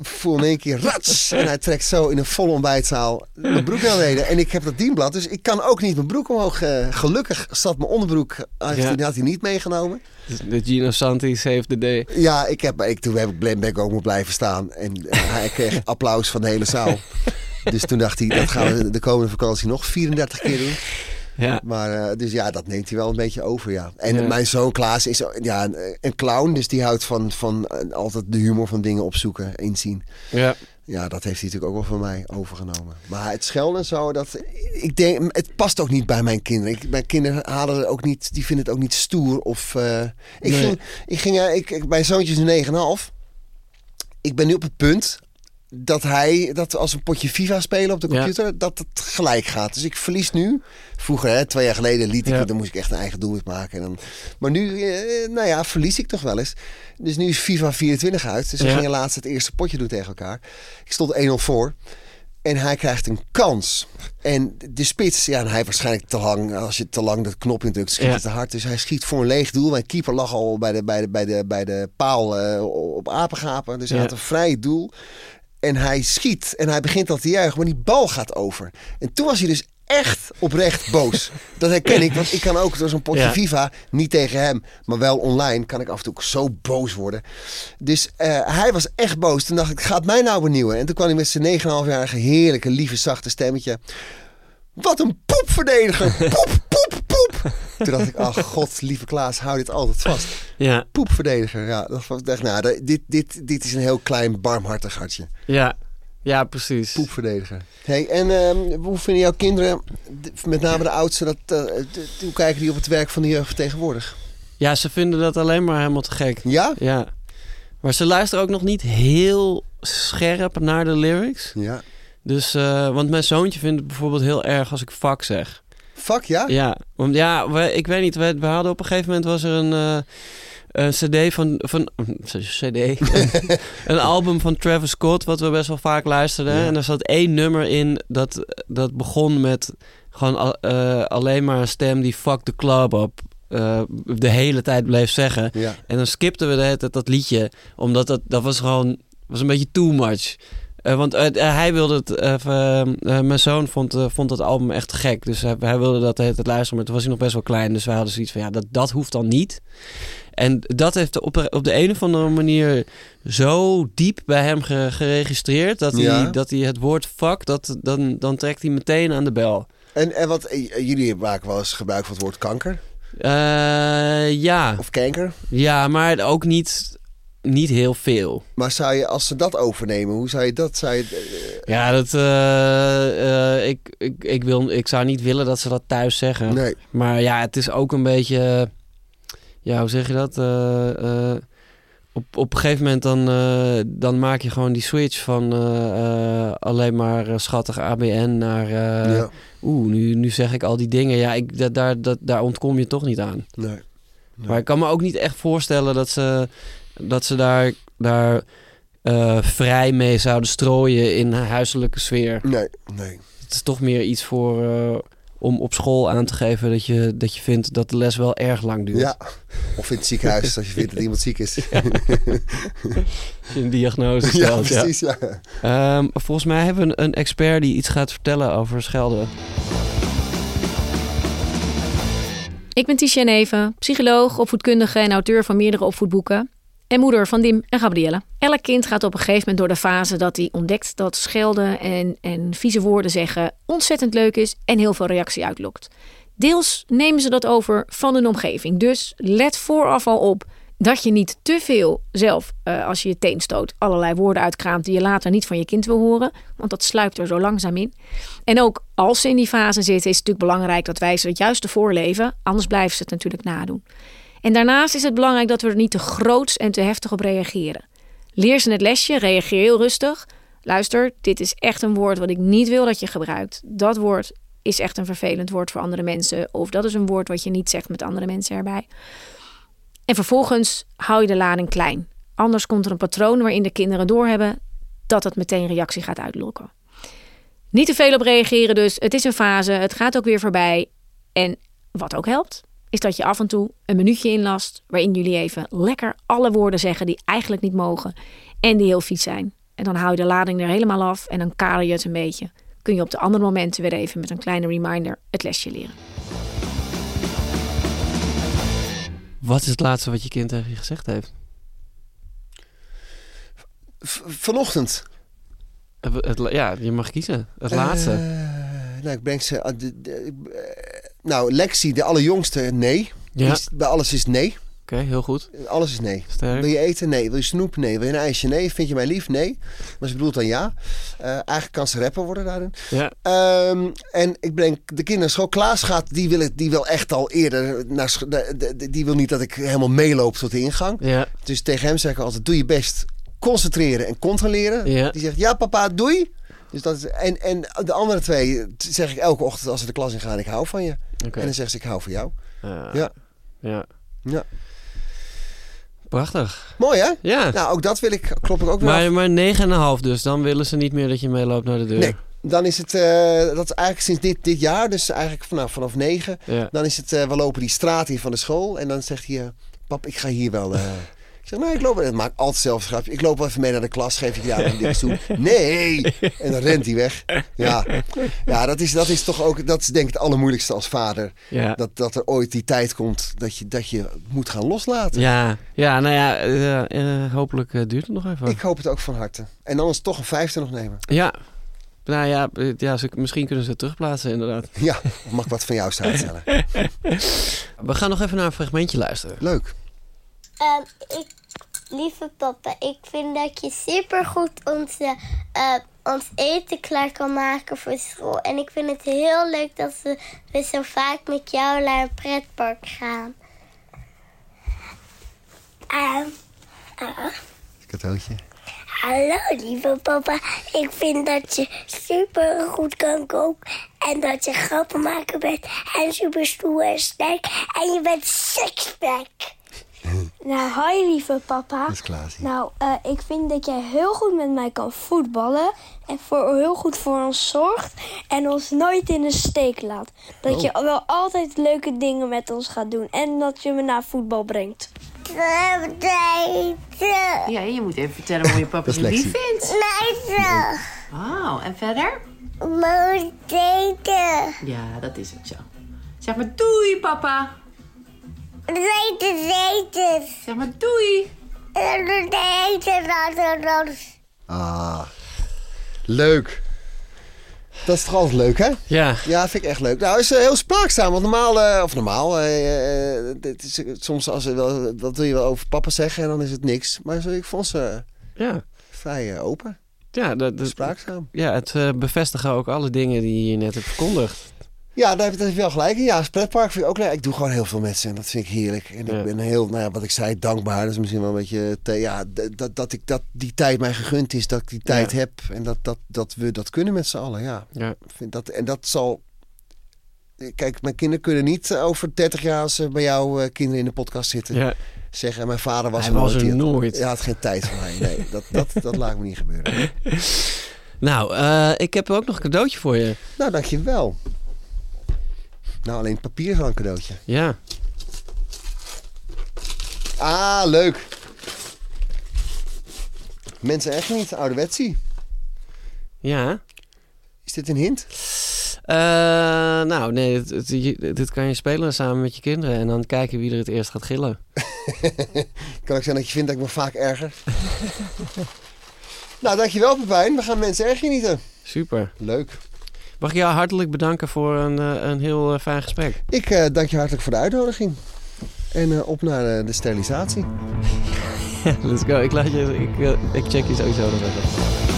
S2: voel in één keer rats. En hij trekt zo in een volle ontbijtzaal mijn broek naar beneden. En ik heb dat dienblad, dus ik kan ook niet mijn broek omhoog. eh, gelukkig zat mijn onderbroek, eh, had,
S1: Ja.
S2: hij, had hij niet meegenomen.
S1: De Gino Santi save the day.
S2: Ja, ik heb, ik, toen heb ik Glenn ook moeten blijven staan. En eh, hij kreeg applaus van de hele zaal. Dus toen dacht hij, dat gaan we de komende vakantie nog 34 keer doen.
S1: Ja.
S2: Maar eh, dus ja, dat neemt hij wel een beetje over, ja. En
S1: Ja.
S2: mijn zoon Klaas is ja, een, een clown, dus die houdt van, van eh, altijd de humor van dingen opzoeken, inzien.
S1: Ja.
S2: Ja, dat heeft hij natuurlijk ook wel van mij overgenomen. Maar het schelden en zo, dat, ik denk, het past ook niet bij mijn kinderen. Ik, mijn kinderen halen er ook niet, die vinden het ook niet stoer. Of, eh, ik,
S1: Nee.
S2: ging, ik ging, eh, ik, ik, mijn zoontje is 9,5. Ik ben nu op het punt dat hij, dat we als een potje FIFA spelen op de
S1: Ja.
S2: computer, dat het gelijk gaat. Dus ik verlies nu. Vroeger, hè, twee jaar geleden, liet ik
S1: Ja.
S2: het, dan moest ik echt een eigen doelwit maken. En dan, maar nu, eh, nou ja, verlies ik toch wel eens. Dus nu is FIFA 24 uit. Dus we
S1: Ja.
S2: gingen laatst het eerste potje doen tegen elkaar. Ik stond 1-0 voor. En hij krijgt een kans. En de spits, ja, en hij waarschijnlijk te lang. Als je te lang dat knop indrukt, schiet
S1: Ja.
S2: het te hard. Dus hij schiet voor een leeg doel. Mijn keeper lag al bij de, bij de, bij de, bij de paal eh, op apengapen. Dus hij
S1: Ja.
S2: had een vrij doel. En hij schiet en hij begint al te juichen, maar die bal gaat over. En toen was hij dus echt oprecht boos. Dat herken ik, want ik kan ook door zo'n potje
S1: Ja.
S2: FIFA, niet tegen hem, maar wel online, kan ik af en toe ook zo boos worden. Dus eh, hij was echt boos. Toen dacht ik, gaat mij nou benieuwen? En toen kwam hij met zijn 9,5-jarige heerlijke, lieve, zachte stemmetje. Wat een poepverdediger! Poep, poep, poep! Toen dacht ik, ach god, lieve Klaas, hou dit altijd vast.
S1: Ja.
S2: Poepverdediger, ja. Dat was echt, nou, dit, dit, dit is een heel klein, barmhartig hartje.
S1: Ja. Ja, precies.
S2: Poepverdediger. Hey, en ehm, hoe vinden jouw kinderen, d- met name de oudste, dat, eh, d- hoe kijken die op het werk van de jeugd tegenwoordig?
S1: Ja, ze vinden dat alleen maar helemaal te gek.
S2: Ja?
S1: Ja. Maar ze luisteren ook nog niet heel scherp naar de lyrics.
S2: Ja.
S1: Dus, eh, want mijn zoontje vindt het bijvoorbeeld heel erg als ik fuck zeg.
S2: Fuck, ja?
S1: Ja, want ja, we, ik weet niet. We, we hadden op een gegeven moment was er een, eh, een CD van, van een CD, een album van Travis Scott wat we best wel vaak luisterden.
S2: Ja.
S1: En daar zat één nummer in dat dat begon met gewoon al- eh, alleen maar een stem die fuck the club op eh, de hele tijd bleef zeggen.
S2: Ja.
S1: En dan skipten we de hele tijd dat liedje, omdat dat dat was gewoon was een beetje too much. Eh, want eh, eh, hij wilde het, eh, v- eh, eh, mijn zoon vond, eh, vond dat album echt te gek. Dus hij, hij wilde dat de hele tijd luisteren. Maar toen was hij nog best wel klein. Dus wij hadden zoiets van, ja, dat, dat hoeft dan niet. En dat heeft op, de- op de een of andere manier zo diep bij hem ge- geregistreerd... dat hij,
S2: Ja.
S1: dat hij het woord fuck, dat, dan, dan trekt hij meteen aan de bel.
S2: En, en wat, eh, jullie maken wel eens gebruik van het woord kanker
S1: Eh, ja.
S2: of kanker.
S1: ja, maar ook niet, niet heel veel.
S2: Maar zou je, als ze dat overnemen, hoe zou je dat, zou je, eh,
S1: Ja, dat, eh, eh, ik, ik, ik, wil, ik zou niet willen dat ze dat thuis zeggen.
S2: nee.
S1: Maar ja, het is ook een beetje. Ja, hoe zeg je dat? Eh, eh, op, op een gegeven moment dan, eh, dan maak je gewoon die switch van eh, eh, alleen maar eh, schattig ABN naar. eh,
S2: ja,
S1: Oeh, nu, nu zeg ik al die dingen. Ja, ik, da- daar, dat daar ontkom je toch niet aan.
S2: nee.
S1: Maar ik kan me ook niet echt voorstellen dat ze, dat ze daar, daar eh, vrij mee zouden strooien in een huiselijke sfeer.
S2: Nee, nee.
S1: Het is toch meer iets voor, eh, om op school aan te geven dat je, dat je vindt dat de les wel erg lang duurt.
S2: Ja. Of in het ziekenhuis als je vindt dat iemand ziek is.
S1: Als je een diagnose
S2: Ja,
S1: stelt. ja.
S2: precies. Ja.
S1: Ehm, volgens mij hebben we een, een expert die iets gaat vertellen over schelden.
S3: Ik ben Tiziane Even, psycholoog, opvoedkundige en auteur van meerdere opvoedboeken. En moeder van Dim en Gabrielle. Elk kind gaat op een gegeven moment door de fase dat hij ontdekt dat schelden en, en vieze woorden zeggen ontzettend leuk is en heel veel reactie uitlokt. Deels nemen ze dat over van hun omgeving. Dus let vooraf al op dat je niet te veel zelf, eh, als je je teen stoot, allerlei woorden uitkraamt die je later niet van je kind wil horen. Want dat sluipt er zo langzaam in. En ook als ze in die fase zitten, is het natuurlijk belangrijk dat wij ze het juiste voorleven. Anders blijven ze het natuurlijk nadoen. En daarnaast is het belangrijk dat we er niet te groots en te heftig op reageren. Leer ze het lesje, reageer heel rustig. Luister, dit is echt een woord wat ik niet wil dat je gebruikt. Dat woord is echt een vervelend woord voor andere mensen. Of dat is een woord wat je niet zegt met andere mensen erbij. En vervolgens hou je de lading klein. Anders komt er een patroon waarin de kinderen doorhebben dat het meteen reactie gaat uitlokken. Niet te veel op reageren dus. Het is een fase. Het gaat ook weer voorbij. En wat ook helpt, is dat je af en toe een minuutje inlast... waarin jullie even lekker alle woorden zeggen die eigenlijk niet mogen... en die heel vies zijn. En dan hou je de lading er helemaal af en dan kader je het een beetje. Kun je op de andere momenten weer even met een kleine reminder het lesje leren.
S1: Wat is het laatste wat je kind tegen je gezegd heeft?
S2: V- vanochtend.
S1: Eh, het la- ja, je mag kiezen. Het laatste.
S2: Eh, nou, ik breng ze... ah, de- de- ik- eh, nou, Lexi, de allerjongste, nee.
S1: ja,
S2: Die
S1: oké,
S2: is- bij alles is nee.
S1: heel goed.
S2: Alles is nee.
S1: Sterk.
S2: Wil je eten? Nee. Wil je snoep? Nee. Wil je een ijsje? Nee. Vind je mij lief? Nee. Maar ze bedoelt dan ja. Eh, eigenlijk kan ze rapper worden daarin.
S1: Ja.
S2: Ehm, en ik breng de kinderen naar school. Klaas gaat, die wil, het, die wil echt al eerder naar scho- de- de- de- Die wil niet dat ik helemaal meeloop tot de ingang.
S1: Ja,
S2: Dus tegen hem zeg ik altijd, doe je best. Concentreren en controleren.
S1: Ja.
S2: Die zegt, ja papa, doei. Dus dat is, en, en de andere twee zeg ik elke ochtend als ze de klas in gaan, ik hou van je.
S1: oké.
S2: En dan zegt ze, ik hou van jou.
S1: Ah,
S2: Ja.
S1: ja.
S2: Ja.
S1: Prachtig.
S2: Mooi hè?
S1: Ja.
S2: Nou, ook dat wil ik, klop ik ook weer af.
S1: maar, maar 9,5 dus. Dan willen ze niet meer dat je meeloopt naar de deur.
S2: Nee, dan is het, eh, dat is eigenlijk sinds dit, dit jaar, dus eigenlijk vanaf, vanaf negen.
S1: Ja.
S2: Dan is het, eh, we lopen die straat hier van de school en dan zegt hij, eh, pap, ik ga hier wel... eh." ik zeg, nee, ik loop, het maakt altijd zelf een grapje. Ik loop wel even mee naar de klas, geef ik jou een ding toe. Nee! En dan rent hij weg. Ja, ja dat, is, dat is toch ook, dat is denk ik het allermoeilijkste als vader.
S1: Ja.
S2: Dat, dat er ooit die tijd komt dat je, dat je moet gaan loslaten.
S1: Ja. ja, nou ja, eh, eh, hopelijk eh, duurt het nog even.
S2: Ik hoop het ook van harte. En anders toch een vijfde nog nemen.
S1: Ja. Nou ja, eh, ja ze, misschien kunnen ze het terugplaatsen inderdaad.
S2: Ja, of mag ik wat van jou stellen?
S1: We gaan nog even naar een fragmentje luisteren.
S2: Leuk.
S4: Ehm, ik, lieve papa, ik vind dat je supergoed onze, eh, ons eten klaar kan maken voor school. En ik vind het heel leuk dat we, we zo vaak met jou naar een pretpark gaan. Ehm,
S2: Cadeautje.
S4: hallo, lieve papa. Ik vind dat je supergoed kan koken. En dat je grappen maken bent. En super stoer en sterk. En je bent sixpack.
S5: Nou, hoi lieve papa.
S2: Dat is Klaas hier.
S5: Nou, eh, ik vind dat jij heel goed met mij kan voetballen. En voor, heel goed voor ons zorgt. En ons nooit in de steek laat. Dat
S2: Oh.
S5: je wel altijd leuke dingen met ons gaat doen. En dat je me naar voetbal brengt.
S6: Ja, je moet even vertellen hoe je papa
S2: Dat is
S6: je lief
S2: Lexi.
S6: vindt.
S4: Meisje,
S6: Oh, en verder?
S4: moet eten.
S6: Ja, dat is ook zo. Zeg maar doei, papa.
S4: Eten, eten.
S6: Zeg maar doei.
S4: Eten, eten, laten ons.
S2: Ah, leuk. Dat is toch altijd leuk, hè?
S1: Ja,
S2: Ja, vind ik echt leuk. Nou, is eh, heel spraakzaam. Want normaal, eh, of normaal, eh, eh, dit is, eh, soms als er wel, wat wil je wel over papa zeggen en dan is het niks. Maar zo, ik vond ze
S1: ja.
S2: vrij eh, open,
S1: Ja, dat, dat-
S2: spraakzaam.
S1: ja het eh, bevestigen ook alle dingen die je hier net hebt verkondigd.
S2: Ja, daar heb, je- daar heb je wel gelijk in. Ja, het pretpark vind ik ook leuk. Ik doe gewoon heel veel mensen en dat vind ik heerlijk. En
S1: Ja.
S2: ik ben heel, nou ja, wat ik zei, dankbaar. Dat is misschien wel een beetje, te- ja, d- dat, dat, ik, dat die tijd mij gegund is, dat ik die tijd heb. En dat, dat, dat we dat kunnen met z'n allen, ja.
S1: Ja.
S2: vind dat, en dat zal Kijk, mijn kinderen kunnen niet eh, over 30 jaar als ze bij jouw eh, kinderen in de podcast zitten
S1: Ja.
S2: zeggen. Mijn vader was
S1: Hij was er
S2: die had-
S1: nooit.
S2: Hij had geen tijd voor mij. Nee, dat, dat, dat laat me niet gebeuren.
S1: Nou, eh, ik heb ook nog een cadeautje voor je.
S2: Nou, dankjewel. Nou, alleen het papier is wel een cadeautje.
S1: Ja.
S2: Ah, leuk. Mensen echt niet, ouderwetsie.
S1: Ja.
S2: Is dit een hint?
S1: Eh, nou, nee, dit, dit- je- dit kan je spelen samen met je kinderen en dan kijken wie er het eerst gaat gillen.
S2: Kan ook zijn dat je vindt dat ik me vaak erger. nou, dankjewel Pepijn. We gaan mensen erg genieten.
S1: Super.
S2: Leuk.
S1: Mag ik jou hartelijk bedanken voor een, eh, een heel eh, fijn gesprek.
S2: Ik eh, dank je hartelijk voor de uitnodiging. En eh, op naar eh, de sterilisatie.
S1: Let's go. Ik, laat je, ik, eh, ik check je sowieso nog even.